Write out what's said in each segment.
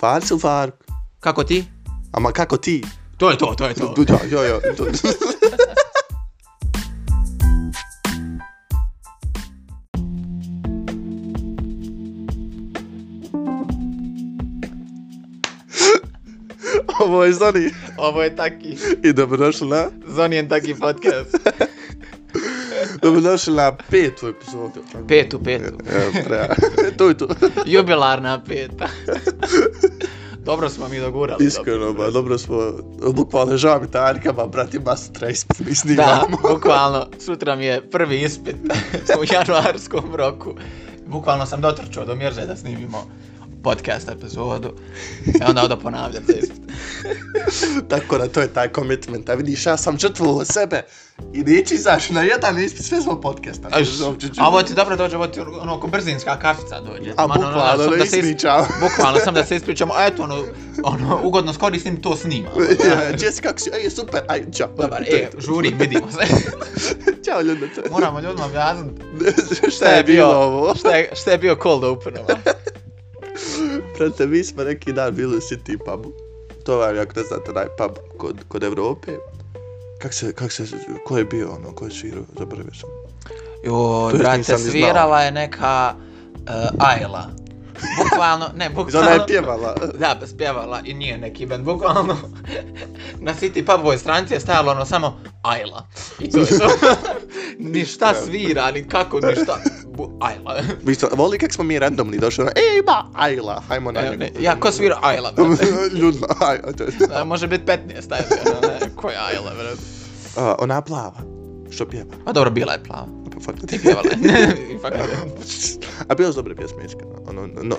Fars ili Faruk? Kako ti? Ama kako ti? To je to, to je to. Du, da, jo, jo. to- Ovo je Zoni Ovo je taki, i dobrodošli na, zonijen taki podcast. dobrodošli na petu epizodu. Petu, petu. E, É, pra, to je to. Jubilarna peta. Dobro smo mi dogurali. Iskreno, ba, dobro smo, bukvalno žao mi tarkama, brati, mastra ispit mi Da, snimamo. bukvalno, sutra mi je prvi ispit u januarskom roku. Bukvalno sam dotrčao do Mirže da snimimo podcast epizodu. I onda odo ponavljam za ispit. Tako da to je taj commitment, a vidiš ja sam žrtvovao sebe i neću izaći na jedan ispit sve smo podcasta. Aš, Uopće ću- a ovo ti dobro dođe, ovo ti ono ko brzinska kafica dođe. A Ma, ono, ono, bukvalno sam ne da se is- ismičam. Bukvalno sam da se ispričamo, a eto ono, ono ugodno skoristim to snimam. Jess, kako si? Ej, super, aj, čao. Dobar, To je e, to. žurim, vidimo se. Ćao, ljudi. to je- Moramo ljudima objasniti Šta je bilo ovo? šta je, šta je bio cold open ovo. Prate, mi smo neki dan bili u City pubu. To vam, ako ne znate, onaj pub kod, kod Evrope. Kak se, kak se, ko je bio ono, ko je svirao, zaboravio sam. Jo, To još brate, nisam ni znao. svirala je neka uh, Ajla. Bukvalno, ne, I ona je bukvalno. pjevala. Da, spjevala i nije neki band, bukvalno. Na City Pubovoj stranci je stajalo ono samo Ajla. I to je to. ni šta svira, ni kako, ni šta. Bu, Ajla. Mi smo, voli kak smo mi randomni došli, ono, ej, ba, ajla, hajmo na Ne, njegu. E, ne, ja, ko svira Ajla, brate? Ljudno, aj, aj, to je. Da, Može biti 15, taj ono, ne, koja Ajla, brate. A, ona plava, što pjeva. Pa dobro, bila je plava. Pa, fuck Ti ti. pjevala. I fakat je. A bilo su dobre pjesme, iskreno. Ono, no,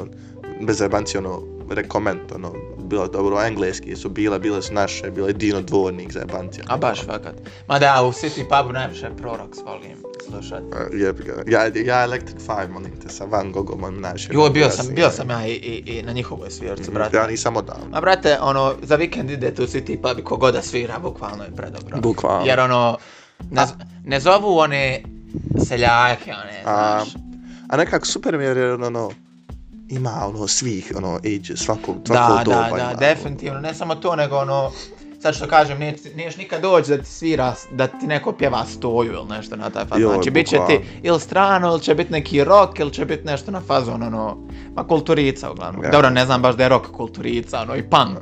bez zajebanci, ono, rekomend, ono, bilo je dobro, engleski su bile, bile su naše, bilo je Dino Dvornik, zajebanci. ono. A baš fakat. Ma da, ja u City pubu najviše Prorox volim slušat. A, Jeb ga. Ja, ja Electric Five, molim te, sa Van Gogom, on naš. Jo, bio sam, bio sam ja i, i, i na njihovoj svirci, brate. Ja nisam odavno. Ma brate, ono, za vikend idete u City pub i kogoda svira, bukvalno je predobro. Bukvalno. Jer ono, ne, z- ne zovu one seljake, one, A, znaš. a nekako super mi je, jer ono, ono, ima ono svih, ono, age, svako, svako Da, da, doba da, ima, ono. definitivno, ne samo to, nego ono, sad što kažem, neć, neš nikad doći da ti svira, da ti neko pjeva stoju ili nešto na taj fazon. Joj, Znači, bit će ti bukvalno. ili strano, ili će biti neki rock, ili će biti nešto na fazon, ono, ma kulturica uglavnom. Ja. Dobro, ne znam baš da je rock kulturica, ono, i punk.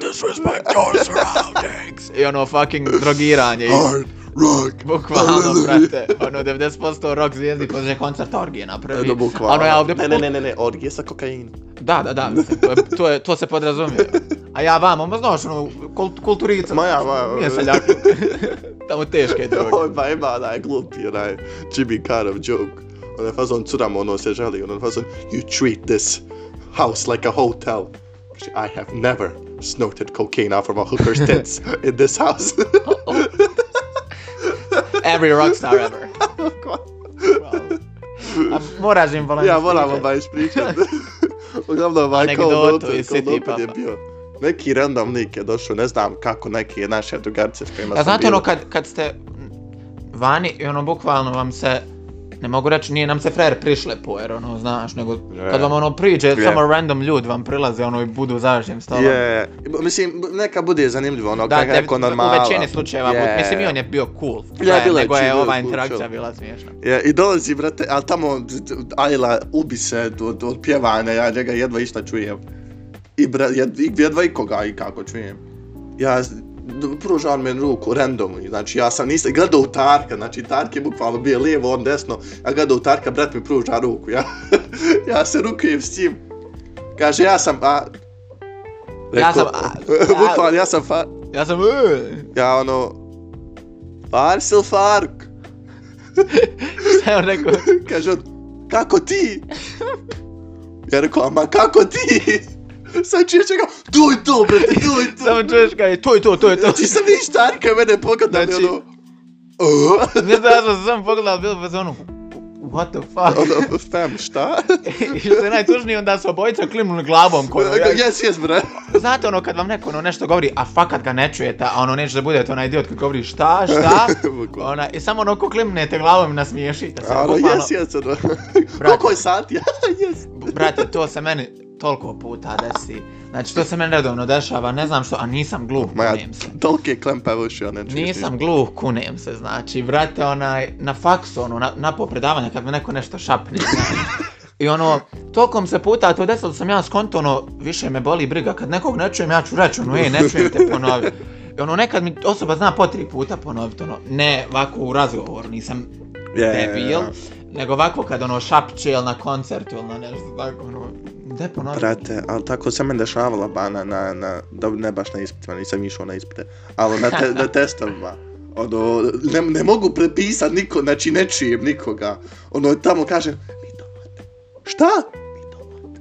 Disrespect our surroundings. I ono, fucking drogiranje. i Hard rock. Bukvalno, brate, ono 90% rock zvijezdi poslije koncert orgije E, napravi. Oh, No, Oh, bukvalno. Ono ja ovdje... Ne, ne, ne, ne, ne, orgije sa kokainom. Da, da, da, mislim, to, je, to, je, to se podrazumije. A ja vamo, ma znaš, ono, kult, kulturica. Ma ono, ja, ma- Nije seljak. Tamo teške droge. Oj, pa ima onaj glupi, onaj Jimmy Carov joke. Onaj fazon curama, ono se žali, ono fazon You treat this house like a hotel. Actually, I have never snorted cocaine out from a hooker's tits in this house. Every rockstar ever. A moraš im volim. ja moram ovaj ispričat. Uglavnom ovaj Anegdotu cold open, iz cold City open je puba. bio. Neki random lik je došao, ne znam kako, neki naše drugarice s kojima A sam znate bio. ono kad, kad ste vani i ono bukvalno vam se ne mogu reći, nije nam se frajer prišlepo, jer ono, znaš, nego Je. kad vam ono priđe, Je. samo random ljudi vam prilaze, ono, i budu zažnjim stolom. Je, mislim, neka bude zanimljivo, ono, Da, kako ne, neko normala. u većini slučajeva, Je. yeah. mislim i on je bio cool, Ja, frajer, bila je nego chill, je bila ova je cool, interakcija chill. bila smiješna. Je, I dolazi, brate, ali tamo Ajla ubi se od, od pjevanja, ja njega jedva išta čujem. I bra, jed, i jedva i koga i kako čujem. Ja, z- d- pruža on meni ruku, random, i znači ja sam nisam, gledao u Tarka, znači Tark je bukvalno bio lijevo, on desno, ja gledao u Tarka, brat mi pruža ruku, ja, ja se rukujem s njim. Kaže, ja sam, a, Ja sam, a- a- bukvalno, ja sam, fa, Ja sam, "E, ja ono, Farsil Fark, šta je on rekao? Kaže on, kako ti? Ja rekao, ama kako ti? Sad čuješ čega, to je to, brate, to je to. Samo čuješ kada je, to je to, to je to. Znači sam viš Tarka mene pogledao, Znači- znači... ono, "O?" Ne znam, ja sam sam pogledao, bilo bez ono, what the fuck? Ono, fam, šta? I što je najtužnije, onda su obojica klimnuli glavom. Koju, Ah, ja, Jes, jes, bre. znate ono kad vam neko ono nešto govori, a fakat ga ne čujete, a ono neće da budete onaj idiot kad govori šta, šta, Bukvalno. ona, i samo ono ko klimnete glavom i nasmiješite se. Ono, bukvalno. jes, jes, ono. Koliko je sati? jes. Brate, to se meni toliko puta desi. Znači, to se meni redovno dešava, ne znam što, a nisam glup, Ma ja, kunem se. tolke klempe uši, ja ne čuješ Nisam ništa. glup, kunem se, znači, brate, onaj, na faksu, ono, na, na popredavanja, kad me neko nešto šapne, znaš. I ono, tokom se puta to desilo da sam ja skonto, ono, više me boli briga, kad nekog ne čujem, ja ću reći, ono, ej, ne čujem te, ponovi. I ono, nekad mi osoba zna po tri puta ponoviti, ono, ne, ovako u razgovoru, nisam Je, je, je. debil, nego ovako kad ono šapće ili na koncertu ili na nešto tako, ono, gde ponovi? Brate, ali tako se meni dešavala bana na, na, da ne baš na ispitima, nisam išao na ispite, ali na, te, na testovima. Ono, ne, ne mogu prepisat niko, znači ne čujem nikoga. Ono, tamo kaže, mi domat. Šta? Mi domat.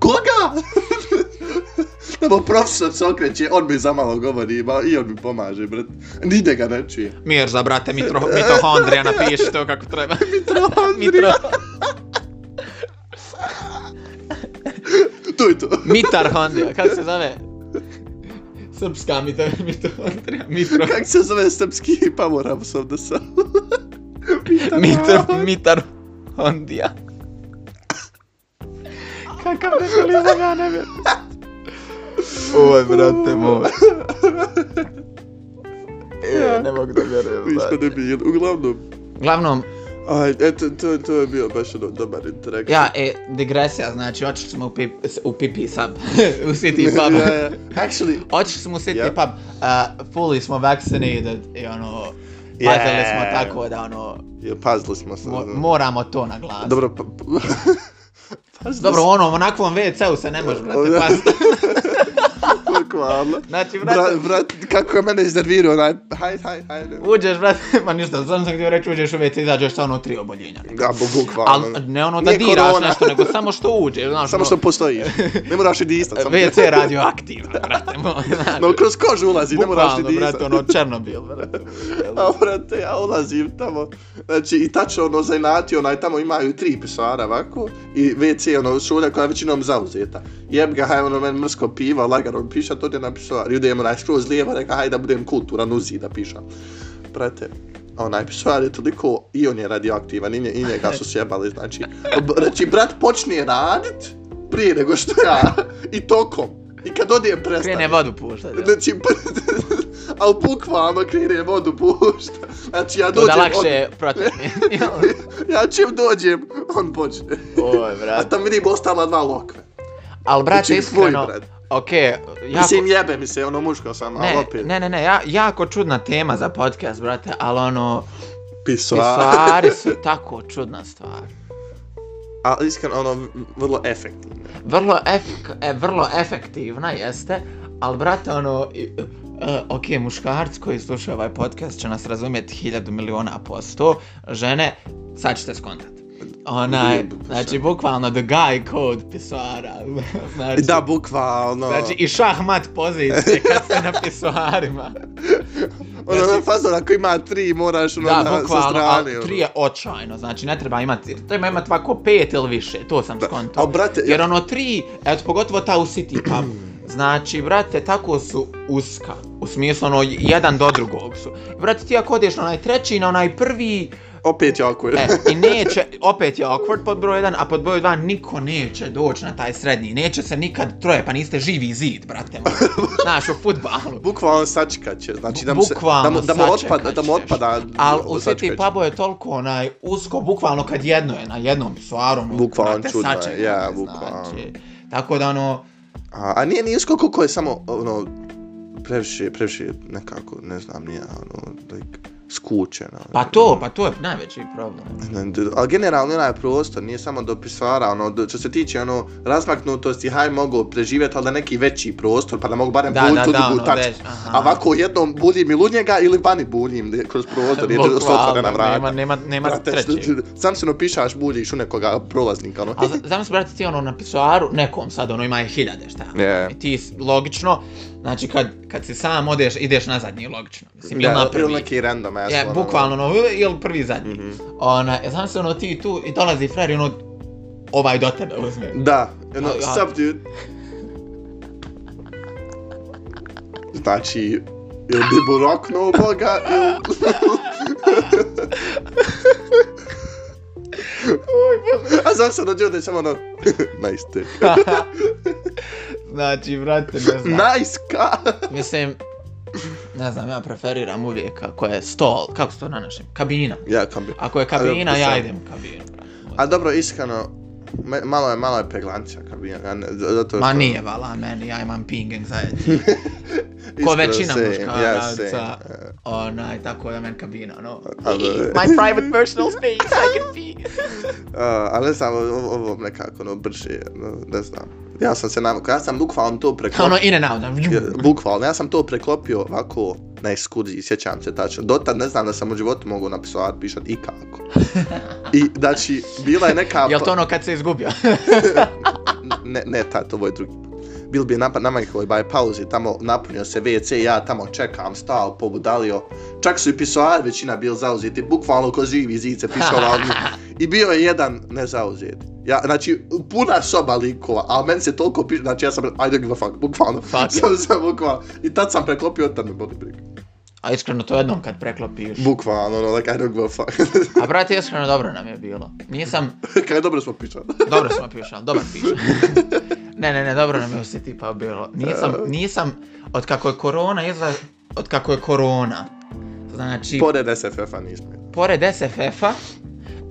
Koga? Tamo profesor se okreće, on mi zamalo govori ma, i on mi pomaže, brat. Nide ga ne čuje. Mirza, brate, mitro, mitohondrija, napiši to kako treba. Mitohondrija. to je to. Mitarhondrija, kako se zove? Srpska mito, mitohondrija, mitro, Kak se zove srpski pa Power Ups of the Sun? mitro, mitarhondija. Kakav debelizam, ja ne vjerujem. Oj, brate moj. E, ne mogu da vjerujem. Mi smo brate. debili. Uglavnom, Uglavnom, aj, eto, to, to je bio baš jedno dobar interakt. ja, e, digresija, znači, otišli smo u, pip, u pipi sub, u city pub. ja, ja. Actually, Otišli smo u City Yep. yep. Pub, uh, fully smo vaccinated i ono, Yeah. yeah. pazili smo tako da ono, ja, pazili smo se. mo ono. moramo to naglasiti. Dobro, Dobro, pa... pazili Dobro ono, onakvom WC-u se ne može, brate, Ono- paziti. smo, hvala. Znači, Bra, brate, brat, kako je mene iznervirao, onaj, hajde, hajde, hajde. uđeš, brate, ma ništa, samo sam htio reći, uđeš u WC, izađeš sa ono tri oboljenja. Da, bo, bukvalno. Ali ne ono da Pa, Nije diraš korona. nešto, nego samo što uđeš, znaš, Samo ono, što postojiš. Ne moraš i distat. samo- WC radioaktivno, brate, moj, znaš. No, kroz kožu ulazi, ne moraš i Bukvalno, disat. brate, ono, Černobil, brate. A brate, ja ulazim tamo, znači i tačno ono zainati, onaj tamo imaju tri pisara ovako i WC ono šulja koja je većinom zauzeta. Jeb ga, haj ono meni mrsko piva, lagano piša, to je na pisoar. I idem onaj skroz lijevo, reka haj da budem kulturan uzi da pišam. Brate, a onaj pisoar je toliko, i on je radioaktivan, i, nje, i njega su sjebali, znači. b- Znači, brat počne radit prije nego što ja, i tokom. I kad odijem prestane. Krene vodu puštati. jel? Znači, ali bukvalno krene vodu pušta. Znači, ja To dođem... da on- lakše protekne. jel? ja čim dođem, on počne. Oj, A brate. tam vidim ostala dva lokve. Al, brate, Znači, iskreno, tvoj brat. okej, jako... Mislim, jebe mi se, ono muško sam, ali Ne, opet. ne, ne, ne, ja, jako čudna tema za podcast, brate, ali ono, Pisoar. pisoari su tako čudna stvar. A iskreno, ono, vrlo efektivno. Vrlo, efek, e, vrlo efektivna jeste, ali brate, ono, i- e, ok, muškarac koji sluša ovaj podcast će nas razumjeti hiljadu miliona posto, žene, sad ćete skontat. Onaj, Jeb, znači, sad. bukvalno, the guy code pisoara, znači... Da, bukvalno. Znači i šahmat pozicije kad ste na pisoarima. ono, ono, fazon, ako ima tri, moraš ono znači- Da, na, sa bukvalno, a strane. ono. tri je očajno, znači ne treba imati, treba imati ovako pet ili više, to sam Da. skonto. A brate, Jer ono tri, eto pogotovo ta u City Pub, znači brate tako su uska, u smislu ono jedan do drugog su. Brate ti ako odeš na onaj treći, na onaj prvi, opet jako je. E, i neće, opet je awkward pod broj 1, a pod broj 2 niko neće doći na taj srednji. Neće se nikad troje, pa niste živi zid, brate moj. Znaš, u futbalu. Bukvalno sačkat će, znači da mu, se, da Bukvalno mu, da mu sačekat otpada, da mu ćeš. otpada. Al u City sačekat će. pubu je toliko onaj usko, bukvalno kad jedno je na jednom pisoaru, ono, Bukvalno brate, čudno je, sačekate, ja, znači. bukvalno. Tako da ono, A, a nije nisko koliko je samo, ono, previše, previše nekako, ne znam, nije, ono, like, skučeno. pa to, pa to je najveći problem. Ali generalno onaj prostor, nije samo do pisara, ono, do, što se tiče, ono, razmaknutosti, haj, mogu preživjeti, ali da neki veći prostor, pa da mogu barem Da, bulj da, tu da, drugu ono, već, tačku. aha. A ovako jednom buljim ili u njega, ili vani buljim ne, kroz prostor, jer je Bukvalno, otvorena vrata. Nema, nema, nema Brate, trećeg. što- sam se napišaš, buljiš u nekoga prolaznika, ono, A za- zamisli, brate, ti ono na pisoaru, nekom sad ono ima je hiljade, šta? Je. I ti, s- logično, znači kad, kad si sam odeš, ideš na zadnji, logično. Mislim, ili Da, na prvi. ili neki random ass je Ono, bukvalno ono, jel prvi i zadnji. Mhm. Ona, znam se ono ti tu i dolazi frajer i ono, ovaj do tebe uzme. Da, ono, A, a- sup dude. Znači, ili bi buroknuo Boga, ili... A znam se rođio da je samo ono, nice dick. Znači, brate, ne znam. Nice ka! Mislim, ne znam, ja preferiram uvijek ako je stol, kako se to na našem, kabina. Ja, kam bi... Ako je Ali, kabina, sam- ja idem u kabinu. brate. A dobro, iskreno, me, malo je, malo je peglancija kabina, ja ne, z- zato Ma što- nije vala meni, ja imam ping anxiety. Iskreno, većina same, muškaraca. Ja, same. Onaj, tako da men kabina, ono. no. A, dobro. My private personal space, I can pee. Uh, ali ne znam, ovo, ovo nekako ono brže, no, ne znam. Ja sam se navikao, ja sam bukvalno to Kao ono preklopio. in and out, ono, Ja, bukvalno, ja sam to preklopio ovako na ekskurziji, sjećam se tačno. Dotad ne znam da sam u životu mogu na pisoar pišat ikako. I, znači, bila je neka... Jel to ono kad se izgubio? Ne, ne tad, ovo je drugi. Bil bi napad na Michael by pauzi, tamo napunio se WC, ja tamo čekam, stao, pobudalio. Čak su i pisoar većina bil zauzeti, bukvalno ko živi zice pisovalni. I bio je jedan nezauzet. Ja, znači, puna soba likova, ali meni se toliko piše, znači ja sam, I don't give a fuck, bukvalno. Fuck sam, sam, bukvalno. I tad sam preklopio, tad me boli briga. A iskreno, to jednom kad preklopiš. Bukvalno, ono, like, I don't give a fuck. A brate, iskreno, dobro nam je bilo. Nisam, Kaj dobro smo pišali. dobro smo pišali, dobro pišali. Ne, ne, ne, dobro nam je se tipa bilo. Nisam, nisam, od kako je korona izla... Od kako je korona. Znači, Pored SFF-a nismo. pored SFF-a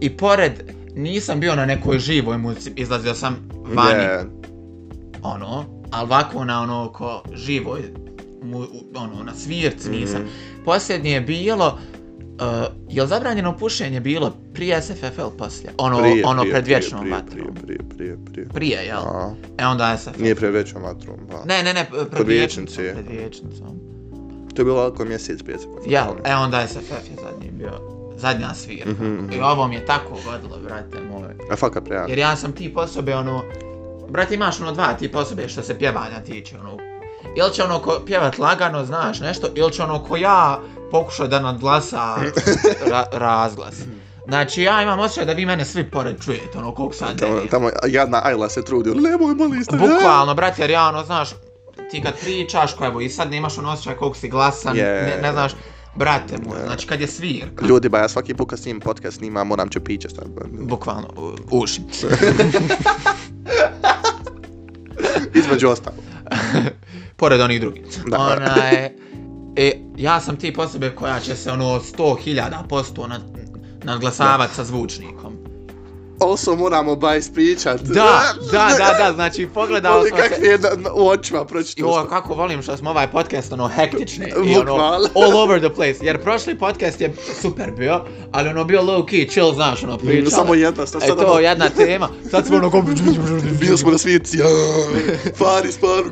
i pored nisam bio na nekoj živoj muzici, izlazio sam vani, yeah. Yeah. ono, ali ovako na ono ko živoj, mu, ono, na svirci nisam. Mm. Posljednje je bilo, uh, je li zabranjeno pušenje bilo prije SFF ili poslije? Ono, prije, ono pred vječnom prije, vatrom. Prije, Prije, prije, prije, prije. jel? A, E onda SFF. nije pred vječnom vatrom, pa. Ne, ne, ne, pred vječnici. vječnicom. Pred vječnicom. To je bilo oko mjesec prije se pojavio. Jel, e onda SFF je zadnji bio, zadnja svirka. Mm Mhm, mhm. -hmm. I ovo mi je tako godilo, brate moj. A faka prejak. Jer ja sam tip osobe, ono, brate, imaš ono dva tipa osobe što se pjevanja tiče, ono, ili će ono ko pjevat lagano, znaš nešto, ili će ono ko ja pokušao da nadglasa ra razglas. Znači, ja imam osjećaj da vi mene svi pored čujete, ono, koliko sad Tamo, ne tamo jadna Ajla se trudi, ono, nemoj molim se. Bukvalno, brate, jer ja, ono, znaš, ti kad pričaš, ko evo, i sad nemaš ono osjećaj koliko si glasan, Je. ne, ne znaš, brate moj, znači, kad je svirka, Ljudi, ba ja svaki put kad snim podcast snimam, moram će piće sad. bukvalno, u- uši. Između ostalo. pored onih drugih. Da. Ona je, e, ja sam tip osobe koja će se ono 100.000 posto nad, nadglasavat sa zvučnikom. Also moramo ba ispričat. Da, da, da, da, znači pogledao Ali smo se... kakvi je na- na- u očima pročitao. Jo, sam. kako volim što smo ovaj podcast ono hektični i ono Bukvalno. all over the place. Jer prošli podcast je super bio, ali ono bio low key, chill, znaš, ono pričali. Mm, samo jedna, sad- E sad to, ono- jedna tema. Sad smo ono ko... Bili smo na svici, pari sparu.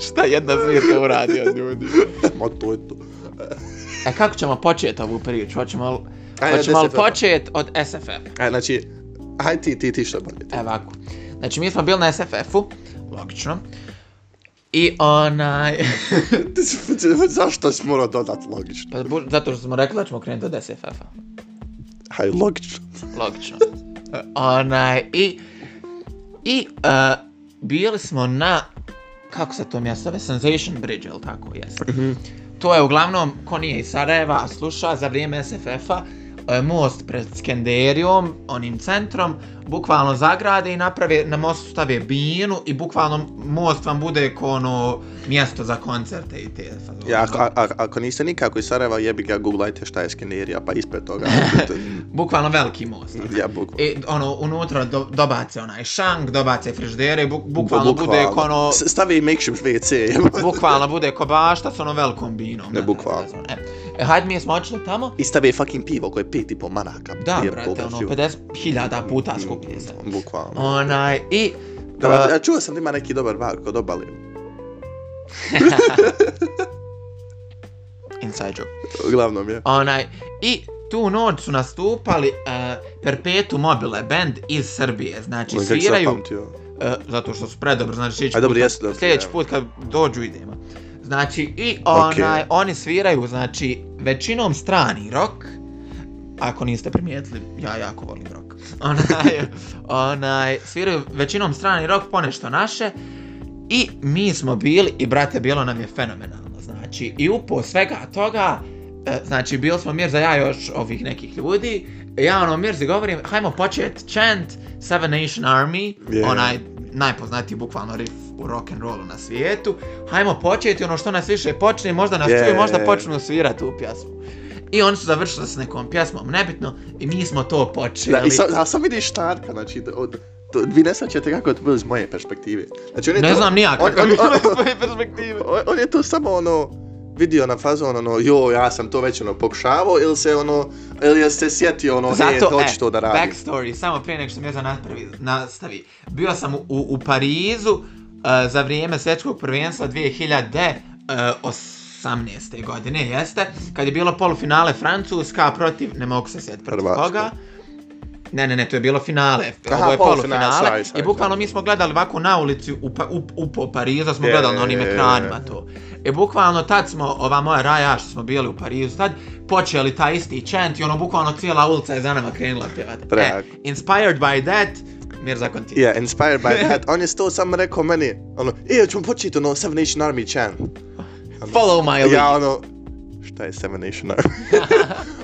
Šta jedna svirka uradio, ljudi? Ma to je to. E kako ćemo početi ovu priču? Hoćemo li, Ajde, hoćemo li SFF-a. početi od SFF? Aj, znači, aj ti, ti, ti što bolje. ti. E, ovako. Znači, mi smo bili na SFF-u, logično. I onaj... Ti si- Zašto si morao dodat logično? pa, bu- zato što smo rekli da ćemo krenuti od SFF-a. Aj, logično. Logično. E, onaj, i... I, uh, bili smo na... Kako se to mjesto zove? Sensation Bridge, ili tako? Jeste. To je uglavnom, ko nije iz Sarajeva, a sluša za vrijeme SFF-a, e, most pred Skenderijom, onim centrom, bukvalno zagrade i naprave, na mostu stave binu i bukvalno most vam bude ko ono mjesto za koncerte i te fazone. Ja, ako, a, a- ako niste nikako iz Sarajeva, jebi ga, googlajte šta je skenerija, pa ispred toga. Bukvalno veliki most. ono. ja, bukvalno. I ono, unutra do, dobace onaj šank, dobace frižidere, buk, bukvalno, bude ko ono... S- Stavi makeshift WC, jebo. Bukvalno bude ko bašta s onom velikom binom. Ne, na- bukvalno. na- na- E, E, hajde mi smo očili tamo. I stavi fucking pivo koje je pet i pol maraka. Da, Jebo brate, ga, ono, život. 50.000 puta skuplje se. Mm, Ono, Bukvalno. Onaj, i... Da, uh, ja čuo sam da ima neki dobar bar kod obali. inside joke. Uglavnom je. Onaj, i tu noć su nastupali uh, Perpetu Mobile band iz Srbije. Znači, Kako sam sviraju... zapamtio. E, zato što su predobro, znači sljedeći A dobro, put, jesu dobro, sljedeći evo. put kad dođu idemo. Znači, i Ok. onaj, oni sviraju, znači, većinom strani rock. Ako niste primijetili, ja jako volim rock. Onaj, onaj, sviraju većinom strani rock, ponešto naše. I mi smo bili, i brate, bilo nam je fenomenalno. Znači, i upo svega toga, e, znači, bili smo Mirza, ja i još ovih nekih ljudi. Ja ono, Mirzi govorim, hajmo počet chant Seven Nation Army, Yeah. yeah. onaj najpoznatiji bukvalno riff u rock and rollu na svijetu. Hajmo početi ono što nas više počne, možda nas Yeah. yeah. čuju, možda počnu svirati tu pjesmu. I oni su završili s nekom pjesmom, nebitno, i mi smo to počeli. Da, i sad, a sad vidiš Štarka, znači, od, to, vi ne svaćate kako je to bilo iz moje perspektive. Znači, on je Ne to, znam ni ja on- kako on- je bilo on- iz moje perspektive. On, on je to samo ono, vidio na fazon ono, jo, ja sam to već ono pokušavao, ili se ono, ili je se sjetio ono, Zato, e, hoću to da radi. backstory, samo prije nego što Mirza napravi, nastavi. Bio sam u, u Parizu uh, za vrijeme svjetskog prvenstva 2018. godine, jeste, kad je bilo polufinale Francuska protiv, ne mogu se sjetiti protiv Hrvatska. koga. Ne, ne, ne, to je bilo finale, Aha, ovo polufinale, je polufinale sorry, sorry, i bukvalno sorry. mi smo gledali ovako na ulici u, pa, u, u po Pariza, smo Je, gledali na onim je, je, je. ekranima to. E bukvalno tad smo, ova moja raja što smo bili u Parizu tad, počeli taj isti chant i ono bukvalno cijela ulica je za nama krenula pjevati. E, Prejako. inspired by that, Mirza Konti. Yeah, inspired by that, on je to samo rekao meni, ono, e, ja ću početi ono, Seven Nation Army chant. Follow my lead. Ja ono, šta je Seven Nation Army?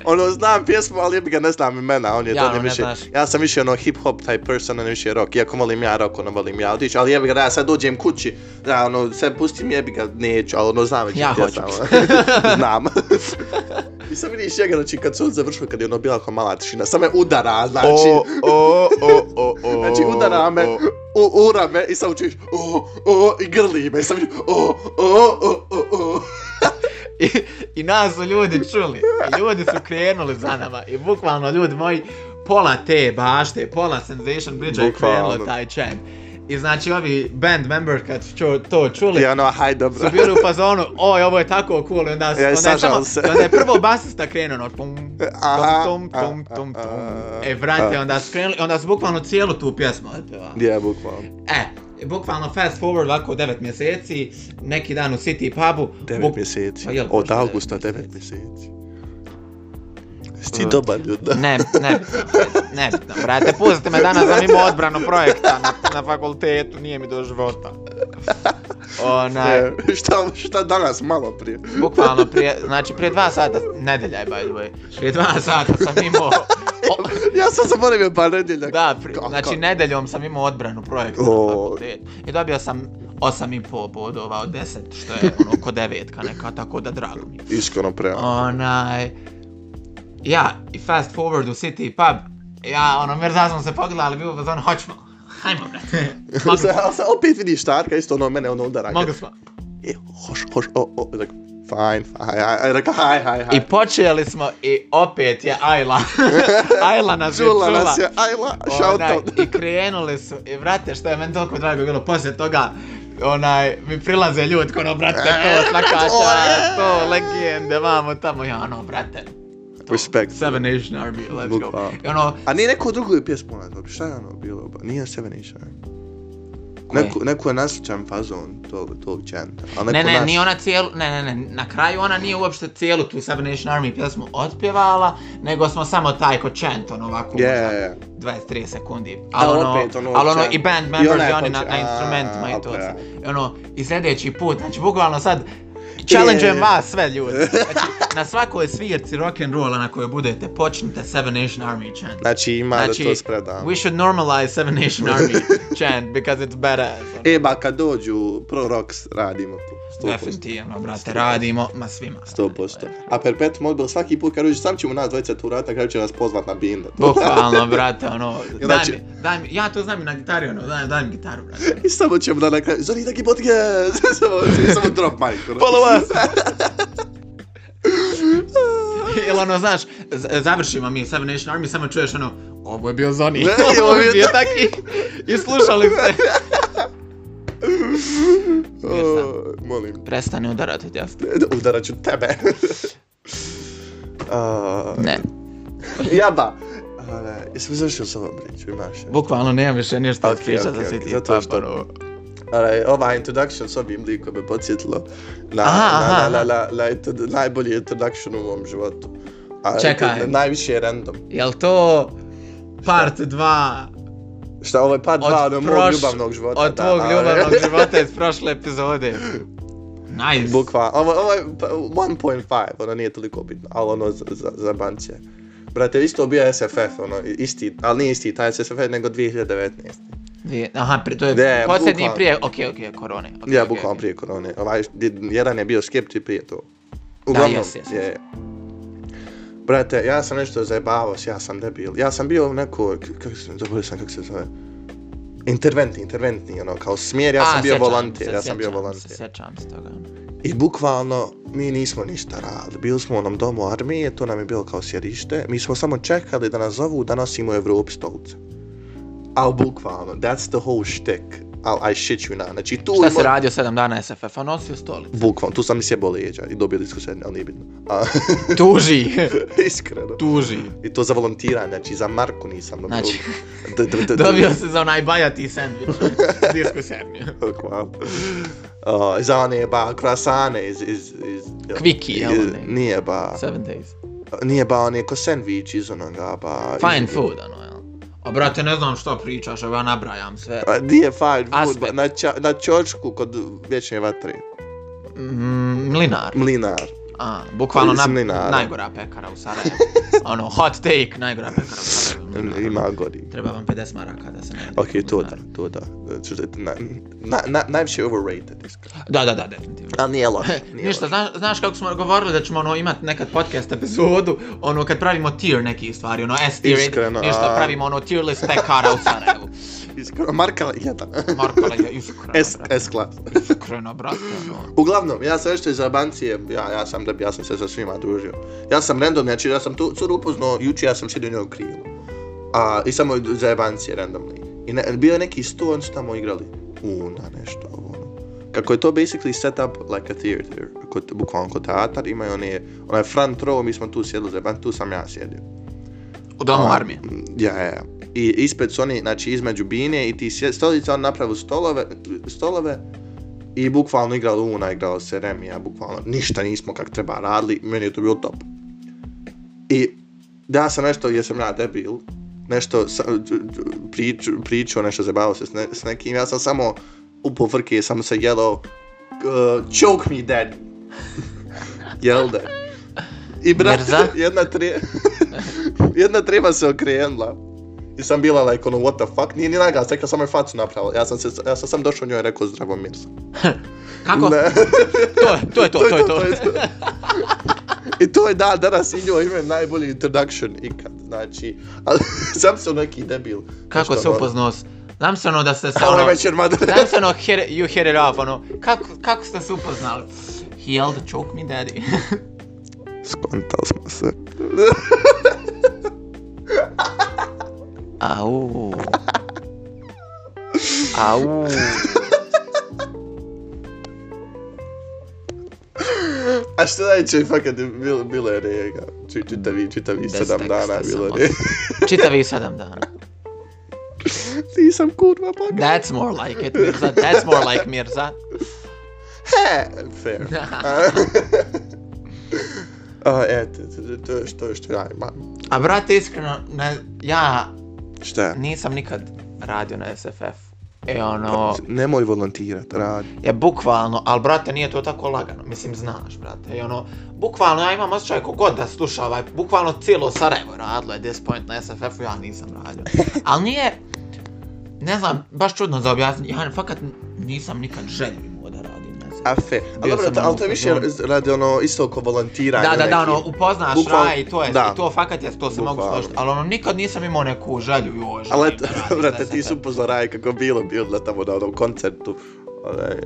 ono, znam pjesmu, ali bi ga ne znam imena, on je Ja, ja, ono, to ne više, znaš. ja sam više ono hip-hop type person, on više rock, iako volim ja rock, ono volim ja otići, ali jebi ga, da ja sad dođem kući, da ono, sve pustim, jebi ga, neću, ali ono, znam već Ja pjesmu, hoću. ono. znam. I sad vidiš njega, znači, kad se on završio, kad je ono bila kao mala tišina, sam me udara, znači, O, o, o, o, o, Znači udara me, o. u, ura me i sam čuješ o, o, i grli me i sam o, o, o, o, o. I, I nas su ljudi čuli. I ljudi su krenuli za nama. I bukvalno, ljudi moji, pola te bašte, pola Sensation Bridge je Bukvalno. krenulo taj chant. I znači ovi band member kad su čo- to čuli, I ono, haj dobro. su bili u fazonu, oj, ovo je tako cool, i onda, Ja, ja, onda, je, sažal samo, se. onda je prvo basista krenuo, ono, pum, Aha, tom, tom, tom, a, tom, tom. a, E, vrate, a. onda su krenuli, onda su bukvalno cijelu tu pjesmu otpevali. Je, bukvalno. E, bukvalno fast forward ovako 9 mjeseci, neki dan u City pubu. 9 buk- mjeseci. Pa jel, Od možda augusta devet 9 mjeseci. Jesi ti dobar ljud? Ne, ne, ne, ne, brate, pustite me danas da imam odbranu projekta na, na fakultetu, nije mi do života. Onaj, E, šta, šta danas malo prije? bukvalno prije, znači prije dva sata, nedelja je by the way, prije dva sata sam imao, o, Ja sam zaboravio pa nedjeljak. da, pri, Kako? znači nedeljom sam imao odbranu projekta na O. fakultetu i dobio sam 8,5 bodova od 10, što je ono oko devetka neka, tako da drago mi je. Iskreno prema. Onaj, ja, i fast forward u City pub, ja, ono, mrza smo se pogledali, bilo bez ono, hoćemo, hajmo, brate, mogli smo, Sa, sa, opet vidiš Štarka, isto ono mene ono udara. mogli smo. E, hoš, hoš, o, o, like, fine, fine, aj, rekao, haj, haj, haj. I počeli smo i opet je Ajla, Ajla nas je Čula čula. nas je, ajla, shout Onaj, out. I krenuli su, i vrate, što je meni toliko drago bilo, poslije toga, onaj, mi prilaze ljudi, ko ono, brate, E, to slakača, to, legende, vamo, tamo, ja, ono, brate. to, Respekt. pa- Seven Nation Army, let's go. Bukvalno. I ono, A nije neko drugo je pjesmu nazvao, šta je ono bilo, ba? nije Seven Nation. Koje? Neko, neko je nasličan fazon tog, tog čanta. A neko Ne, ne, naš... nije ona cijelu, ne, ne, ne, na kraju ona nije uopšte cijelu tu Seven Nation Army pjesmu otpjevala, nego smo samo taj ko chant, ono ovako, Je, yeah. je, je. 23 sekundi. A Ali ono, opet ono ali ono chant. i band I members ona i, je oni hoće- na, na a, instrumentima i to. opet. sve. ono, i sljedeći put, znači bukvalno sad, challengeujem Je. vas sve ljudi. Znači, na svakoj svirci rock'n'rolla na kojoj budete, počnite Seven Nation Army chant. Znači ima da to spredam. we should normalize Seven Nation Army chant because it's badass. ono. E, ba, kad dođu, pro rocks radimo to. 100%. Definitivno, brate, radimo, ma svima. 100%. A Perpetuum odbor svaki put kad dođe, sam ćemo nas dvojica tu rata, kraju će nas pozvat na binda. Bukvalno, brate, ono, daj Znači- mi, daj mi, ja to znam i na gitari, ono, daj, daj mi gitaru, brate. I samo ćemo da na kraju, Zoni, taki podcast, samo, samo drop mic. ono. Follow us! Ili ono, znaš, z- završimo mi Seven Nation Army, samo čuješ ono, ovo je bio Zoni, Ne, ovo je bio taki, i slušali se. O, Molim. Prestani udarati djecu. Udarat ću tebe. A, Ne, Jaba. Uh, jesmo završili s ovom priču, imaš. je? bukvalno nemam više ništa Ok, od priča ok, za ok, svi ti pa zato ono. što- paparo. Ovaj, ova introduction s ovim likom me podsjetilo na, Aha, aha, na, na, na, aha. na, na intro- najbolji introduction u mom životu. A, Čekaj. to- Najviše je random. Jel to part 2 Šta, ovo je part Od 2 mog proš- ljubavnog života. od tvog ali- ljubavnog života iz prošle epizode? Nice. Bukva, ovo, ovo je pa, 1.5, ono nije toliko bitno, ali ono za, za, za banci je. Brate, isto bio SFF, ono, isti, ali nije isti taj SFF, nego 2019. Dvije- Aha, pri, to je Ne, posljednji bukvalno. prije, okej, okej, korone. okej, ja, okej, bukvalno okej. prije korone. Ovaj, jedan je bio skepti prije to. Uglavnom, jes, jes, je. Brate, ja sam nešto zajebavao, s- ja sam debil. Ja sam bio u nekoj, k- kako se, zaboravio sam kako se zove. Interventni, interventni, ono, kao smjer, ja A, sam bio sjećam volanter, se, ja sam bio sjećam se, volanter. Sjećam se toga. I bukvalno, mi nismo ništa radili. Bili smo u onom domu armije, to nam je bilo kao sjedište. Mi smo samo čekali da nas zovu da nosimo u Evropi stolce. Al bukvalno, that's the whole shtick. Al, I shit you not. Znači, tu Šta ima- si radio 7 dana SFF-a? Nosio stolicu. Bukvalno, tu sam i sjebao leđa i dobio diskusiju, ali nije bitno. A, Tuži, iskreno. tuži. I to za volontiranje, znači za Marku nisam dobio. Znači, D- d- d- d- dobio se za onaj bajati sandvič. Disku sandvič. Hvala. Uh, za one ba krasane iz... iz, iz Kviki, jel iz- one? Nije ba... 7 days. Nije ba one ko sandvič iz onoga ba... Fine iz- food, ono, jel? A brate, ne znam što pričaš, evo ja nabrajam sve. A, Nije fine food, Aspekt. ba, na, ča, na čočku kod vječne vatre. Pa- Mm, mlinar. Mlinar. A, bukvalno Iz na, mlinara. najgora pekara u Sarajevu. ono, hot take, najgora pekara u Sarajevu. mlinar. Ima godi. Treba vam 50 maraka da se ne Ok, to da, to da. Znači, Na, na, na, najviše overrated, iskreno. Da, da, da, definitivno. Ali nije loše. nije Ništa, loše. znaš, znaš kako smo govorili da ćemo ono imat nekad podcast epizodu, ono kad pravimo tier nekih stvari, ono S tier, Iskreno, ništa, a- pravimo ono tier list pekara u Sarajevu. Iskreno, Marka jedan. Markola je iskreno, S, brate, S klas. iskreno, brate, no. ono. Uglavnom, ja sam nešto iz Albancije, ja, ja sam debil, ja sam se sa svima družio. Ja sam random, znači ja sam tu curu upoznao, juče ja sam sjedio njoj u krilu. A, I samo za Albancije randomni. I ne, bio je neki sto, oni su tamo igrali. Una, nešto, ovo, ono. Kako je to basically set up like a theater, kod, bukvalno kod teatar, imaju one, onaj front row, mi smo tu sjedili za Albancije, tu sam ja sjedio. U domu armije. Ja, ja, ja. I ispred su oni, znači između bine i ti sje- stolica, on napravili stolove, stolove i bukvalno igrala Una, igrala se Remija, bukvalno ništa nismo kak treba radili, meni je to bilo top. I ja sam nešto, jer sam ja debil, nešto sa, prič, pričao, nešto zabavao se s, ne, s nekim, ja sam samo upao frke, samo se jelao, uh, choke me dad. Jel da? I brate, Mrza. jedna tre... jedna treba se okrenula. I sam bila like ono what the fuck, nije ni nagas, rekla sam je facu napravila. Ja sam, se, ja sam sam došao njoj i rekao zdravo mirza. Kako? Ne. To je to, je to, to je to. I to je da, danas i njoj ime najbolji introduction ikad, znači, ali sam sam neki debil. Kako Nešto se ono- upoznao s... Znam se ono da ste sa Ono ono... večer, mada... Znam se no, ono, hit it- you hit it off, ono, no. kako, kako ste se upoznali? He yelled, choke me daddy. Skontali smo se. Au. Au. A što najče, fakat je bilo, bilo je rega. Ču- Čitavi, čitavi Bez sedam teksta dana je bilo samo. rega. Čitavi sedam dana. Nisam kurva paga. That's more like it, Mirza. That's more like Mirza. He, fair. A, eto, to- to- to je što, što ja imam. A brate, iskreno, ne, ja Šta? nisam nikad radio na SFF. E ono, Nemoj volontirat, radi. je bukvalno, ali brate nije to tako lagano, mislim znaš brate, i ono, bukvalno ja imam osjećaj kogod da sluša ovaj, bukvalno cijelo Sarajevo je radilo je 10 point na SFF-u, ja nisam radio, ali nije, ne znam, baš čudno za objasniti, ja fakat nisam nikad želju imao da radim na SFF. A fe. A Bio dobro, sam da, ono ali to je u više fazonu. radi ono isto oko volontiranja. Da, da, da, neki. ono, upoznaš Bukvalno, raj i to je, da. i to fakat je, to se mogu Bukvalno. složiti, ali ono, nikad nisam imao neku želju, joj, želim Ali, da radim brate, za ti su SFF. upozoraj kako je bilo, bilo da tamo na onom koncertu. onaj,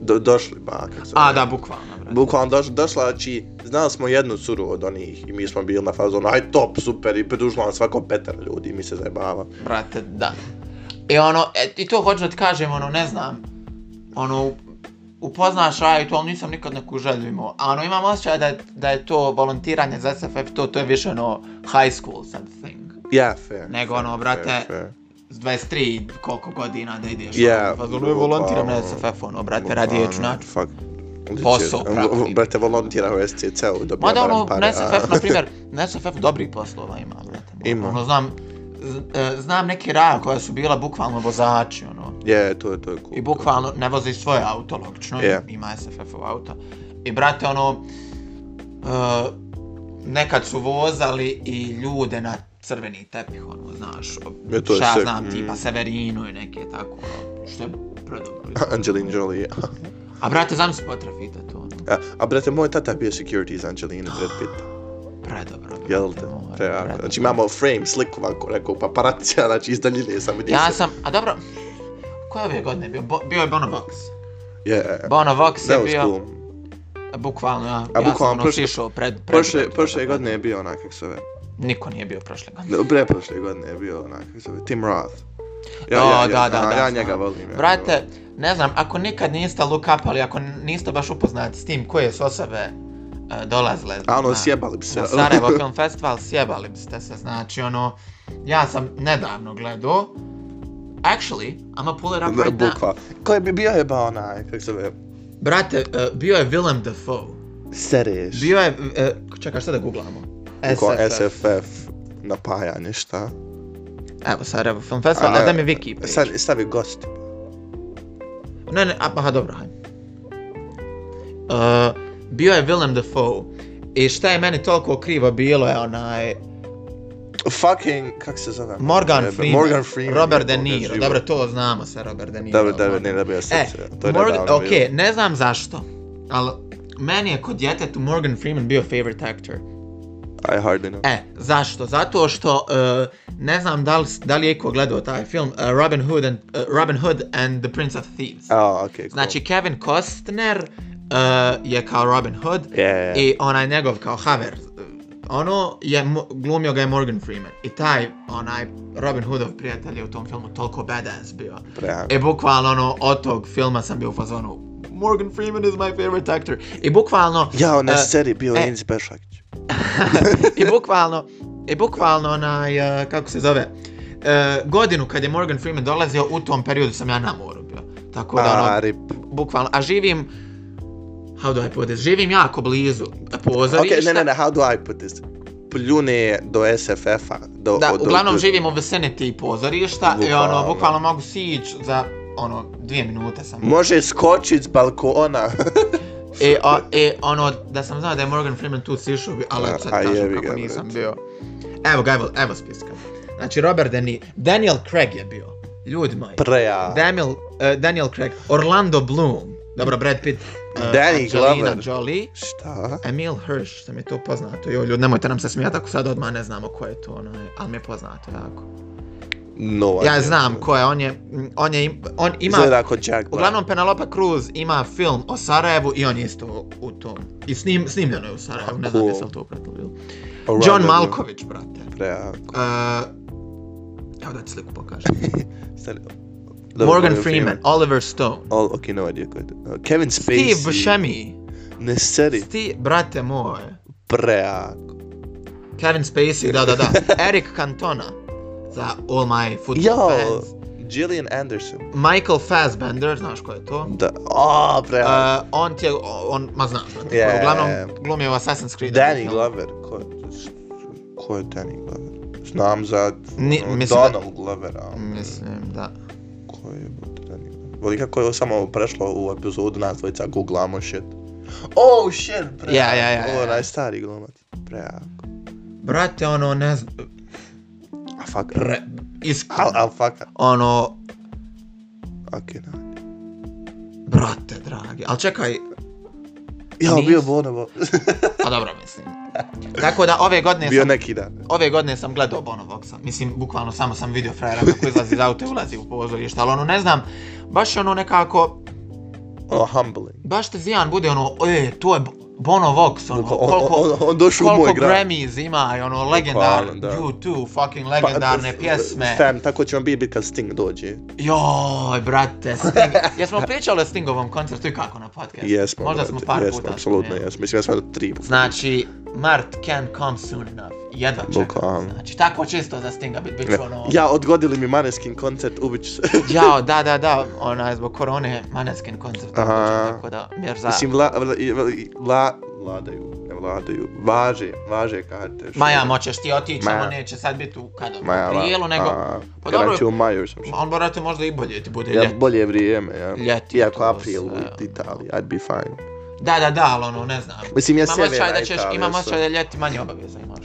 Do, došli, ba, kako se A, zove. da, bukvalno, brate. Bukvalno doš, došla, znači, znali smo jednu curu od onih i mi smo bili na fazonu, aj top, super, i pridružila nam svako petar ljudi, mi se zajebava. Brate, da. I ono, e, i to hoću da ti kažem, ono, ne znam, ono, upoznaš Raju, to, ali nisam nikad neku želju imao. A ono, imam osjećaj da, da je to volontiranje za SFF, to, to je više ono, high school sad thing. Ja, fair. Nego fair, ono, brate, fair, fair. s 23 koliko godina da ideš. Ja, ono, fazonu, evo, volontiram na SFF, ono, brate, radi je čunaču. Fuck. Posao, bravo. Brate, volontira u SCC-u, dobija Mada ono, barem pare. na a- SFF, na primjer, na SFF dobrih poslova ima, brate. Ima. Ono, znam, z- e, znam neki raja koja su bila bukvalno vozači, ono. Je, to je, to je cool. I bukvalno ne vozi svoje auto, logično, Je. ima SFF-ov auto. I brate, ono, uh, nekad su vozali i ljude na crveni tepih, ono, znaš, E, to je šta ja sick, znam, mm. tipa Severinu i neke tako, ono, što je predobro. Angelina Jolie. A brate, znam se potrafita to, ono, A, a brate, moj tata je bio security za Angelina Brad Pitt. predobro. brate, Jel te? more, Prejako. predobro. Znači imamo frame, sliku ovako, rekao, paparacija, znači iz daljine sam vidio. Ja sam, a dobro, koje ove godine bio? Bo, bio je Bono Vox. Yeah. Bono Vox je That was bio, cool. bukvalno, ja, A ja sam bukvalno ono prošle- šišao pred, pred Prošle, prošle godine je bio onak, kako se zove. Niko nije bio prošle godine. Ne, Pre prošle godine je bio onak, kako se zove, Tim Roth. O, ja, da, da, ja, da, ja znam. njega volim. Ja njega Brate, ne znam, ako nikad niste look up, ali ako niste baš upoznati s tim koje su osobe e, dolazile A ono, na- sjebali bi se. na Sarajevo Film Festival, sjebali biste se, znači ono, ja sam nedavno gledao, actually, I'ma pull it up right now. Bukva. Ko je bi bio jeba onaj, kako se zove, Brate, e, bio je Willem Dafoe, Sereš. bio je, e, čekaj šta da googlamo? Ko SFF napajanje, šta? Evo Sarajevo Film Festival, a da mi Wiki prije. Stavi, stavi gost. Ne, ne, a, aha, dobro, hajde. Uh, bio je Willem Dafoe. I šta je meni toliko krivo bilo je onaj Fucking, kak se zove? Morgan Jebe, Freeman, Morgan Freeman. Robert De jebote, Niro, život. dobro to znamo sa Robert De Niro. Dobro, dobro, ono. ne dobija se. E, to je Morgan, nedavno ok, bilo. ne znam zašto, ali meni je kod djetetu Morgan Freeman bio favorite actor. I hardly know. E, zašto? Zato što, uh, ne znam da li, da li je iko gledao taj film, uh, Robin, Hood and, uh, Robin Hood and the Prince of Thieves. A, ok, Ah, cool. Znači, Kevin Costner uh, je kao Robin Hood Yeah. i onaj njegov kao Haver, ono, je, mo- glumio ga je Morgan Freeman. I taj, onaj, Robin Hoodov prijatelj je u tom filmu toliko badass bio. Prejako. E, bukvalno, ono, od tog filma sam bio u fazonu, Morgan Freeman is my favorite actor. I bukvalno, Ja, na e, seri bio e. Jens Bešakić. i bukvalno, i bukvalno onaj, uh, kako se zove, uh, godinu kad je Morgan Freeman dolazio, u tom periodu sam ja na moru bio. Tako da, ono, A, Ah, rip. bukvalno, a živim, how do I put this, živim jako blizu pozorišta. Ok, ne, ne, ne, how do I put this? Pljune do SFF-a. Do, Da, od- od- uglavnom od- živim u vicinity pozorišta i ono, Bukvalno. bukvalno mogu sić za, ono, dvije minute sam. Može skočit s balkona. E, o, e, ono, da sam znao da je Morgan Freeman tu sišao, bi, ali A- sad a kažem jebi kako ga, nisam brate. bio. Evo ga, evo, evo spiska. Znači, Robert De Niro, Daniel Craig je bio, ljudi moji. Preja. Daniel, uh, Daniel Craig, Orlando Bloom, dobro, Brad Pitt, uh, Danny Angelina Glover. Jolie, Šta? Emil Hirsch, sam je to poznato. Jo, ljudi, nemojte nam se smijati ako sad odmah ne znamo ko je to, onaj, ali mi je poznato jako. No, Ja znam ko je, on je, on je, im- on ima, Izgleda ako Jack Black. uglavnom Penelope Cruz ima film o Sarajevu i on je isto u tom. I snim, snimljeno je u Sarajevu, ne znam Cool. jesam to upratili. ili? Around John the- Malković, brate. Prejako. Uh, evo da ti sliku pokažem. Stari- Dobro, Morgan Freeman, Oliver Stone, All, ok, no idea ko je to. Uh, Kevin Spacey. Steve Buscemi, Ne seri. Steve, brate moj, Prejako. Kevin Spacey, da, da, da, Eric Cantona za All My Football Jo! Fans. Gillian Anderson. Michael Fassbender, znaš ko je to? Da. O, prejako. Uh, on ti je, on, ma znam, znam ti, Yeah. uglavnom glumi u Assassin's Creed. Danny Glover. Ko je, ko je Danny Glover? Znam za Ni- ono, mislim da- Donald Glover, ali mm. Mislim, da. ko je brate, Danny Glover? Voli kako je ovo samo prešlo u epizodu nas dvojica googlamo shit. Oh shit, prejako. Ja, ja, ja, Ovo ja. je najstari glumac. Prejako. Brate, ono, ne znam, A fuck. re, iskreno, Al, al fuck. ono, Ok, no. brate, dragi, ali čekaj, Ja, Nis- bio Bonobo. a Pa dobro, mislim. Tako da, ove godine bio sam, neki dan. ove godine sam gledao Bonovoxa, mislim, bukvalno samo sam vidio frajera kako izlazi iz auta i ulazi u pozorište, ali ono, ne znam, baš je ono nekako, Ono, humbling. baš te zijan bude ono, e, to je Bonovox, ono, On, on, koliko, on, on došao u koliko moj grad. Grammys ima i ono legendar, Bukvalno, da. U2 fucking Pa, legendarne f- pjesme. Fam, tako će vam biti kad Sting dođe. Joj, brate, Sting. Jesmo pričali o Stingovom koncertu i kako na podcastu? Jesmo, Možda brate, smo par jesmo, puta. apsolutno spomenuli. jesmo. Mislim, ja sam tri puta. Znači, Mart can come soon enough. Jedva čekam. Bukvalno. Znači, tako čisto za Stinga bit, bit ću ono... Ja, odgodili mi Maneskin koncert, ubit ću se. Jao, da, da, da, onaj, zbog korone, Maneskin koncert, Aha. tako da, jer za... Mislim, vla, vla, i- vla, i- vla, vladaju, ne vladaju, važe, važe karte. što- Ma ja, moćeš ti otići, Ma ja. samo neće sad biti u kada, Ma ja, u prijelu, nego... a, Pa kada dobro. ću u maju sam Ma on, brate, možda i bolje ti bude Ja, ljeto. bolje vrijeme, ja. Ljeti, Iako to april sve, ono. u Italiji, I'd be fine. Da, da, da, ali ono, ne znam. Mislim, ja Imam osjećaj da sjeverna ćeš, Italija imam sam. osjećaj da ljeti manje obaveza imaš.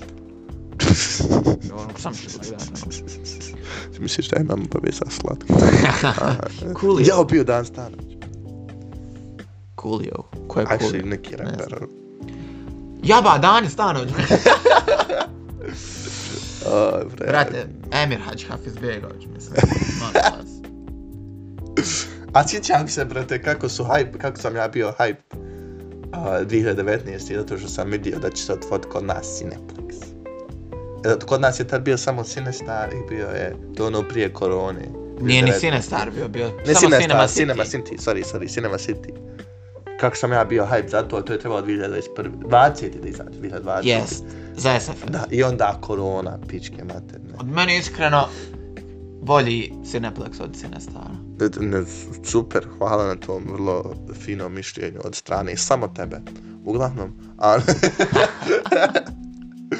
Ono, sam ću gledati. Misliš da imam obaveza slatko? Coolio. Ja bio dan stana. Coolio. Ko je Actually, Coolio? neki Ne reper. Jaba, Dani Stanović. Aj, bre. Brate, Emir Hadži Hafiz Begović, mislim. Molim vas. A sjećam se, brate, kako su hype, kako sam ja bio hype a, 2019. zato što sam vidio da će se otvoriti kod nas Cineplex. E, Kod nas je tad bio samo Cinestar i bio je to ono prije korone. Nije ni 2019. Sinestar bio, bio Ne samo Cinema, Cinema Cinema, City. Cinema City, sorry, sorry, Cinema City. Kako sam ja bio hype za to, a to je trebalo 2021. 20. da izađe, 2020. Jest, za SF. Da, i onda korona, pičke materne. Od mene iskreno bolji Cineplex od Cinestara. Ne, ne, super, hvala na tom vrlo finom mišljenju od strane samo tebe. Uglavnom, a... uh,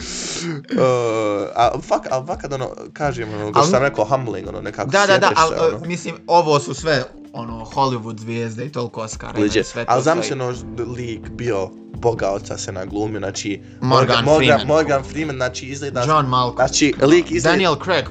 a fak, a fakat ono, kažem ono, kao Al- što sam rekao, humbling, ono, nekako Da, da, da, sjeteš ali se, ono. mislim, ovo su sve ono Hollywood zvijezde i toliko Oscara. imaju, Liđe, sve to ali ono stoji. zamišljeno lik bio boga oca se naglumio, znači Morgan Freeman. Morgan, Morgan Freeman, znači izgleda, John Malkovich. znači lik izgleda, Daniel Craig.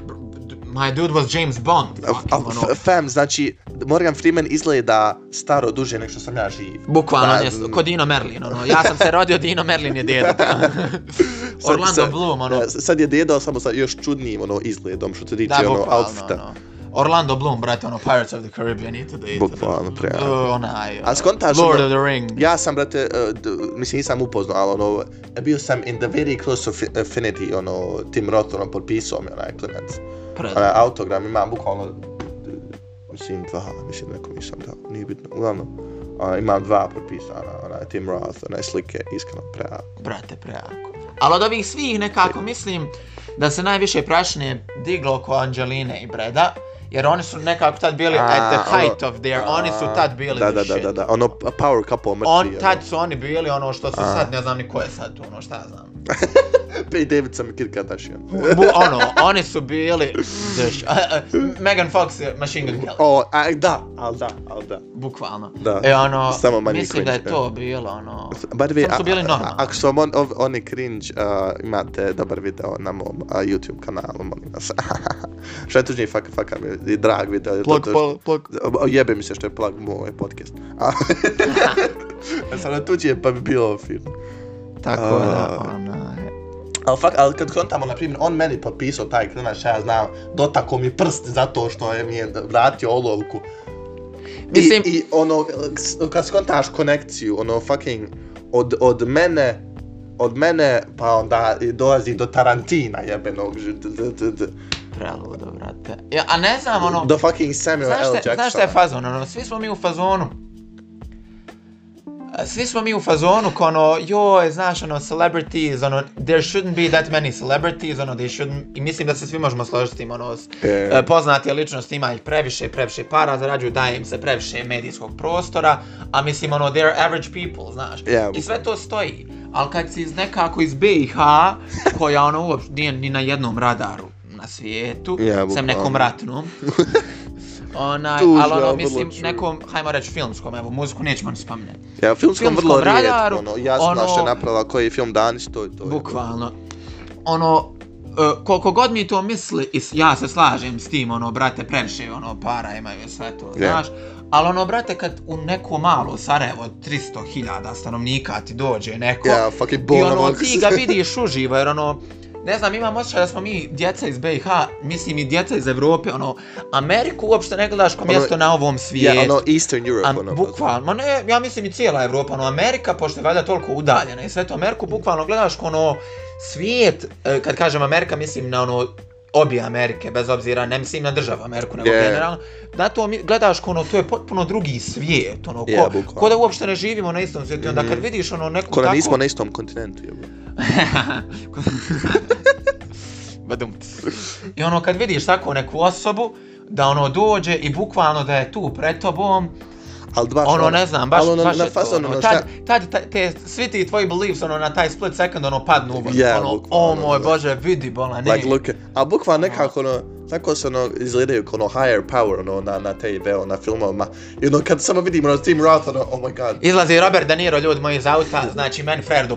My dude was James Bond. A- fucking, a- ono, f- fam, znači Morgan Freeman izgleda staro duže nego što sam ja živ. Bukvalno, Pa, on je ko Dino Merlin, ono, ja sam se rodio, Dino Merlin je djeda. Sad- Orlando sad- Bloom, ono, Da, sad je dedo samo sa još čudnijim ono izgledom što se tiče da, ono bukvalno, outfita. ono. Orlando Bloom, brate, ono, Pirates of the Caribbean i tada i tada. Bukvalno, prejako. Uh, Onaj, A skontaš, Lord ono- of the Ring. Ja sam, brate, uh, d- mislim nisam upoznao, ali ono, bio sam in the very close of affinity, ono, Tim Roth, ono, potpisao mi onaj klinac. Pred- Onaj autogram imam bukvalno, d- mislim dva, mislim nekom nisam dao, nije bitno, uglavnom. Onaj, imam dva potpisana, onaj Tim Roth, onaj slike, iskreno, prejako. Brate, prejako. Ali od ovih svih nekako mislim da se najviše prašne diglo oko Angeline i Breda, jer oni su nekako tad bili A, at the ono- height of their, oni su tad bili da, the da, da, shit. da, da, ono a power couple mrtvi. On, tak- ono. tad su oni bili ono što su A. sad, ne znam ni ko je sad tu, ono šta ja znam. Pej Davidson i Kim Kardashian. Bu, ono, oni su bili... Drž, Megan Fox je Machine Gun Kelly, O, a, da, al da, al da. bukvalno. Da. E ono, Samo manje mislim da je cringe, to bilo ono... By the way, Samo su a- bili a- normalni. Ako su vam on, ov, oni cringe, uh, imate dobar video na mom uh, YouTube kanalu, molim vas. Šetužni faka faka mi je i drag video. zato Plug, što- plug, plug. O, Jebe mi se što je plug moj podcast. A, sam na tuđe pa bi bilo fino. Tako da, ono, A. onaj... Al fak, al kad kontamo, na primjer, on meni potpisao taj klinač, ja znam, dotako mi prst zato što je mi je vratio olovku. Mislim- I, I ono, s- kad skontaš konekciju, ono fucking, od, od mene, od mene, pa onda i dolazi do Tarantina jebenog, ž- d- d- d- d- Preludo, brate. Ja, a ne znam, ono... do fucking Samuel L. znaš, šta, Jacksona. znaš šta je fazon, ono, svi smo mi u fazonu. A, Svi smo mi u fazonu ko ono, joj, znaš, ono, celebrities, ono, there shouldn't be that many celebrities, ono, they shouldn't, i mislim da se svi možemo složiti s tim, ono, s- E. e, poznate ličnosti, ima ih previše, previše para, zarađuju, daje im se previše medijskog prostora, a mislim, ono, they're average people, znaš, Ja, i sve to stoji, ali kad si iz nekako iz BiH, koja, ono, uopšte nije ni na jednom radaru na svijetu, Ja, sem bukvalno. nekom ratnom, Onaj, Tužno, ali ono, vrlo mislim, čudno. nekom, hajmo reći filmskom, evo, muziku nećemo ni spominjati. Ja, filmskom, filmskom vrlo rijetko, radaru, ono, jasno ono- što je napravila koji je film Danić, to je to. je. Bukvalno. Ono, e, koliko god mi to misli, i s- ja se slažem s tim, ono, brate, previše, ono, para imaju i sve to, Je. znaš. Ali ono, brate, kad u neko malo Sarajevo od 300.000 stanovnika ti dođe neko, Ja, fucking I Bono ono, Vox. ti ga vidiš uživo, jer ono, ne znam, imam osjećaj da smo mi djeca iz BiH, mislim i djeca iz Evrope, ono, Ameriku uopšte ne gledaš kao Ono, mjesto na ovom svijetu. Ja, ono, Eastern Europe, A, ono. bukvalno, ma ne, ja mislim i cijela Evropa, ono, Amerika, pošto je valjda toliko udaljena i sve to, Ameriku bukvalno gledaš ko ono, svijet, e, kad kažem Amerika, mislim na ono, obje Amerike, bez obzira, ne mislim na državu Ameriku, nego Je. yeah. generalno, na to mi, gledaš ko ono, to je potpuno drugi svijet, ono, ko, Je, bukvalno. ko da uopšte ne živimo na istom svijetu, mm onda kad Mhm. vidiš ono neko Ko da tako... nismo na istom kontinentu, jebo. Badumc. I ono kad vidiš tako neku osobu, da ono dođe i bukvalno da je tu pred tobom, Ali dva ono ne znam, baš, ali ono, baš na je to, fazon, ono, ono, tad, šta- tad, ta- te, svi ti tvoji beliefs, ono, na taj split second, ono, padnu u vodu, Je, ono, bukvalno, o moj da. bože, vidi, bola, ne, Like, look, a bukva nekako ono, tako se ono izgledaju kao ono higher power ono na, na TV, na filmovima. I ono kad samo vidim ono Tim Roth, ono, oh my god. Izlazi Robert De Niro, ljudi moji, iz auta, znači meni frajer do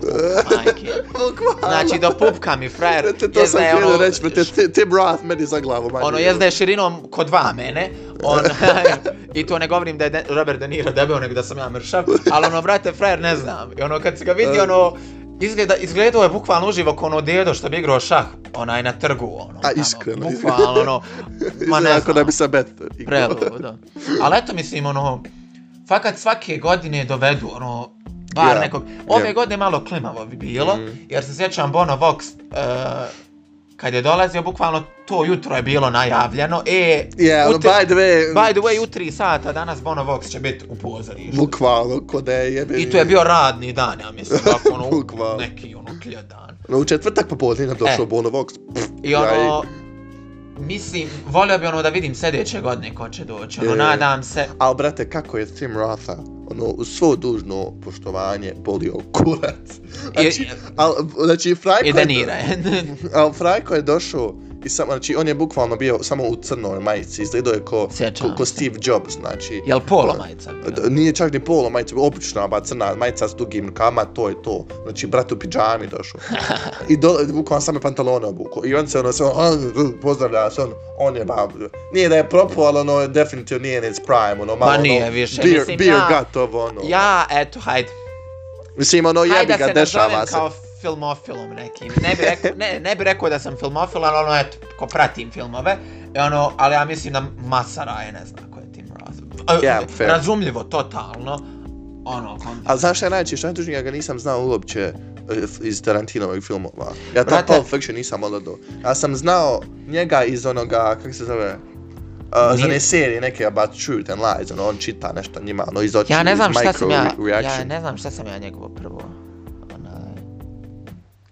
pupka, majke. Bukva. Znači do pupka mi frajer. to, to jest sam da je htio ono- reći, pa brate, Ti- Tim Roth meni za glavu. manje. Ono, jest da je širinom ko dva mene, on, i to ne govorim da je De, Robert De Niro debel, nego da sam ja mršav, ali ono, brate, frajer ne znam. I ono, kad se ga vidi, ono, izgleda, izgledao je bukvalno uživo ko ono dedo što bi igrao šah, onaj na trgu, ono. tamo, iskreno, Bukvalno, ono, ma Izgleda ne ako da znam. bi sa bet. Preludo. Ali eto, mislim, ono, fakat svake godine dovedu, ono, bar Ja, nekog. Ove ja. godine malo klimavo bi bilo, Mhm. jer se sjećam Bono Vox, e, kad je dolazio, bukvalno to jutro je bilo najavljeno. E, Yeah, u ono, tri- by the way, by the way, u 3 sata danas Bono Vox će biti u pozorištu. bukvalno, ko da je jebe. I to je bio radni dan, ja mislim, ovako, ono, Bukvalno. neki ono kljedan. Ono, u četvrtak popodne nam došao E. Bono Vox. Pff, I ono, ja mislim, volio bi ono da vidim sljedeće godine ko će doći, ono, E. nadam se. Al brate, kako je Tim Rotha, ono, uz svo dužno poštovanje, bolio kurac. Znači, I, al, znači Frajko i je, De Niro je. al, Frajko je došao i samo, znači, on je bukvalno bio samo u crnoj majici, izgledao je ko, Sjećam ko, ko se. Steve Jobs, znači. Jel polo majica? D- Nije čak ni polo majica, obična ba crna majica s dugim rukama, to je to. Znači, brat u pidžami došao. I do, bukvalno same pantalone obuko. I on se ono, se ono, "Ah, pozdravlja se, on, on je ba, nije da je propo, ali ono, definitivno nije in its prime, ono, malo, nije ono, više, beer, mislim, beer ja- gotovo, ono. Ja, eto, hajde. Mislim, ono, jebi hajde da ga, se nazovem dešava se. kao filmofilom nekim. Ne bi, rekao, ne, ne bi rekao da sam filmofil, ali ono, eto, ko pratim filmove. I ono, ali ja mislim da masa raje ne zna ko je Tim Roth. E, Yeah, fair. Razumljivo, totalno. Ono, kon... A znaš šta je najčešće? Šta je najtužnije? ja ga nisam znao uopće e, f- iz Tarantinovih filmova. Ja ta Brate- Pulp Fiction nisam odgledao. Ja sam znao njega iz onoga, kako se zove, Uh, za Nije- one serije neke about truth and lies, ono, on čita nešto njima, ono, iz očiju, Ja ne znam iz šta sam ja, micro re- ja reaction. ne znam šta sam ja njegovo prvo. Onaj...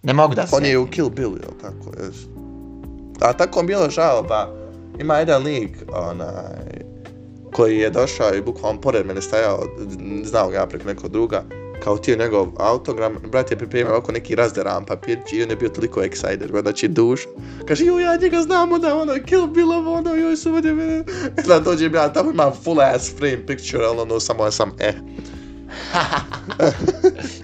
Ne mogu da se. On je u Kill Bill, jel tako, jes? A tako mi je bilo žao, pa, ima jedan lik, onaj, koji je došao i bukvalno pored mene stajao, n- znao ga ja preko nekog druga, kao ti njegov autogram, brat je pripremio oko neki razderan papirć i on je bio toliko excited, ono, znači duš. Kaže, joj, ja njega znamo da ono, Kill Bill ovo, ono, joj, su vode mene. Da dođem ja, tamo imam full ass frame picture, ali ono, samo ja sam, eh,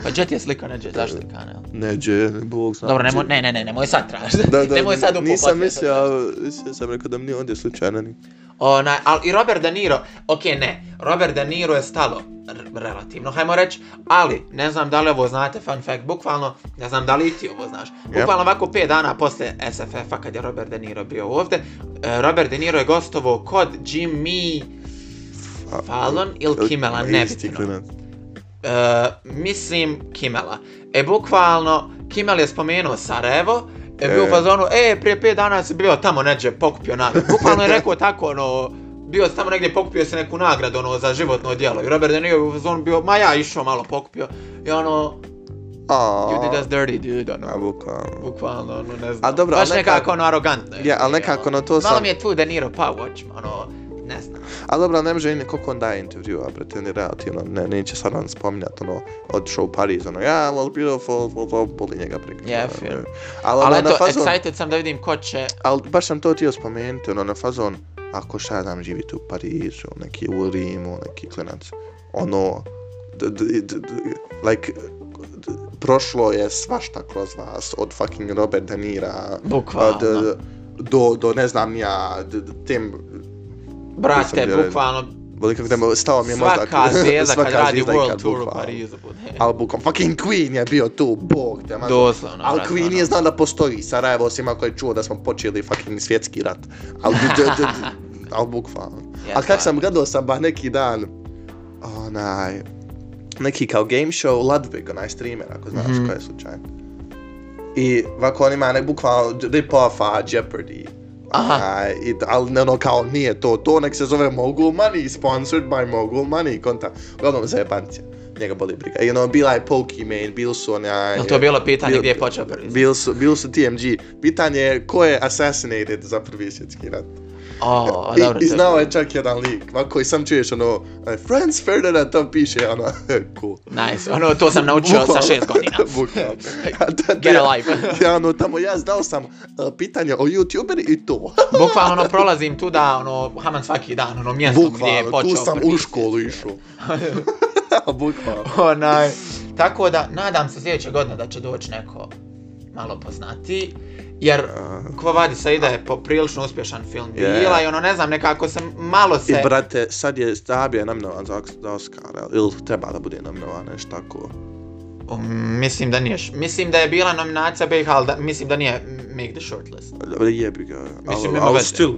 Pa Jet je slika, neđe, zašto slikana, jel? neđe, bog zna. Dobro, nemo, ne, ne, ne, nemoj sad tražiti. Da, da, Pa nemoj sad upu nisam podcastu. mislio, ali mislio sam rekao da mi nije ovdje slučajno ni. Ona, al i Robert De Niro, okej ne, Robert De Niro je stalo r- relativno, hajmo reći, ali ne znam da li ovo znate, fun fact, bukvalno, ne znam da li i ti ovo znaš, bukvalno ovako 5 dana poslije SFF-a kad je Robert De Niro bio ovdje, e, Robert De Niro je gostovao kod Jimmy A- Fallon ili Kimela, Ma, ne isti bitno. klinac. E, mislim Kimela. E, bukvalno, Kimel je spomenuo Sarajevo, je bio E. u fazonu, e, prije 5 dana si bio tamo neđe, pokupio nagradu. Bukvalno je rekao tako, ono, bio si tamo negdje, pokupio si neku nagradu, ono, za životno djelo. I Robert De Niro je u fazonu bio, ma ja išao malo pokupio. I ono, Aaa. you did us dirty, dude, A, ono. bukvalno. Bukvalno, ono, ne znam. A dobro, Baš ali nekako- nekako, ono, arogantno. je Je, ali bilo, nekako, ono. no, to Malo sam- mi je tu De Niro, pa watch, ono, ne znam. A dobro, ne može ni koliko on daje intervjua, brate, ni relativno, ne, neće sad on spominjati, ono, odšao u Pariz, ono, ja, well, beautiful, well, well, boli njega preko. Yeah, fair. Ali, Ali ali ono, eto, na fazon, excited sam da vidim ko će, ali baš sam to htio spomenuti, ono, na fazon, ako šta znam, živite u Parizu, neki u Rimu, neki klinac, ono, d, d, d, d, like, d, prošlo je svašta kroz vas, od fucking Robert De Nira, bukvalno. d, do, do, ne znam ja, d, d, tem, nisam Brate, vjerujem. bukvalno, voli kako da me, stao mi je mozak. Svaka zvijezda kad radi zvijezda World ikad, Tour u bukvalno. Parizu bude. Al bukom, fucking Queen je bio tu, bog te mazo. Doslovno, Al brate, Queen ono. je znao da postoji Sarajevo, osim ako je čuo da smo počeli fucking svjetski rat. Al, d, d, d, d- al bukvalno. Ja Al kak sam stvarno. gledao sam ba neki dan, onaj, neki kao game show Ludwig, onaj streamer, ako znaš Mhm. mm. koji je slučajno. I ovako on ima nek bukvalno rip-offa Jeopardy Aha. A, i, ali ono kao nije to to, nek se zove Mogul Money, sponsored by Mogul Money, konta. Uglavnom za jebancija, njega boli briga. I ono, bila je Pokimane, bil su ona... Jel to bilo pitanje Bil- gdje je počeo prvi? Bil su, bil su TMG. Pitanje je ko je assassinated za prvi svjetski rat. O, I, Pa dobro. I to- znao je čak jedan lik, ma koji sam čuješ ono, e, Franz Ferdinand to piše, ono, cool. Nice, ono, to sam naučio sa Bukvalno. šest godina. Bukvalno. A da- da Get ja- alive. Ja ono tamo, ja znao sam uh, pitanje o YouTuberi i to. Bukvalno ono, prolazim tu da, ono, haman svaki dan, ono, mjesto gdje je Bukvalno, počeo. tu sam prvi u školu svjetski išao. Bukvalno. rat. Onaj, tako da, nadam se sljedeće godine da će doći neko malo poznati, jer Kvo Vadisa ide je poprilično uspješan film Je. yeah. bila i ono, ne znam, nekako sam, malo I se... brate, sad je Stabija naminovan za, za Oscara, ili treba da bude naminovan, nešto tako. Um, mislim da nije, š- mislim da je bila nominacija BiH, ali da, mislim da nije Make the Shortlist. Dobro, Pa jebi ga. Mislim, ali, nema ali veze. still,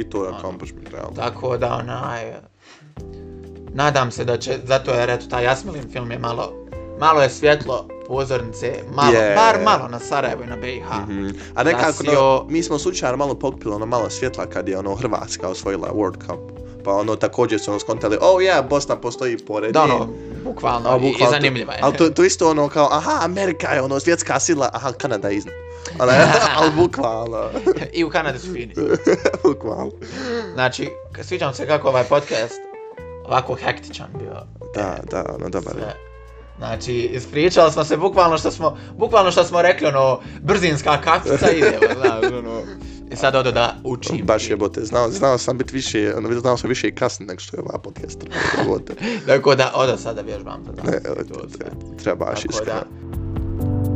i to je Ono. accomplishment, realno. Tako da, onaj... Nadam se da će, zato jer eto, taj Jasmilin film je malo, malo je svjetlo pozornice, malo, Je. yeah. bar malo na Sarajevo i na BiH. Mm Mhm. A nekako, Nasio- no, mi smo slučajno malo pokupili ono malo svjetla kad je ono Hrvatska osvojila World Cup. Pa ono također su ono skontali, oh yeah, Bosna postoji pored Da, nje. ono, bukvalno, A, i- bukvalno, i zanimljiva je. Ali to, to isto ono kao, aha, Amerika je ono svjetska sila, aha, Kanada je iznad. Ali, ali bukvalno, I u Kanadi su fini. bukvalno. Znači, k- sviđam se kako ovaj podcast ovako hektičan bio. Da, da, ono, dobar je. Sve. Znači, ispričali smo se bukvalno što smo, bukvalno što smo rekli, ono, brzinska kafica ide, znaš, ono. I sad odo da učim. Baš jebote, znao, znao sam biti više, ono, znao sam više i kasno nego što je ova podcast. ono, Jebote, Tako da, odo sada vježbam to ne, danas. i to sve. trebaš Tako da, iskreno.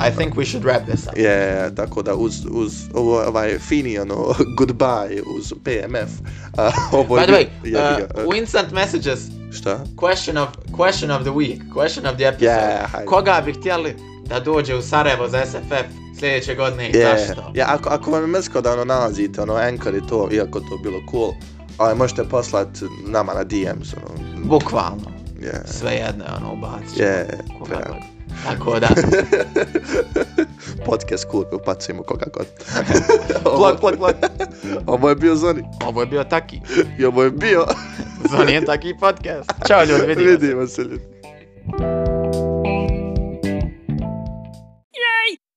I think we should wrap this up. Je, tako da uz, uz ovo, ovaj fini ono goodbye uz PMF. a, ovo By je the way, bio- jebi ga, e- uh, u instant messages, šta? question of, question of the week, question of the episode. Yeah, hajde. Koga bi htjeli da dođe u Sarajevo za SFF sljedeće godine i Je, zašto? ja, ako, ako vam je mrsko da ono nalazite ono Anchor i to, iako to bilo cool, ali možete poslat nama na DMs, ono, Bukvalno. je. Sve jedno je ono ubacit. ćemo Je, koga treba. god. Tako da, podcast cool, pa upacujemo koga god. plug, plug, plug. ovo je bio Zoni, Ovo je bio taki. i ovo je bio, Zvonijen taki podcast. Ćao ljudi, vidimo se. vidimo se ljudi.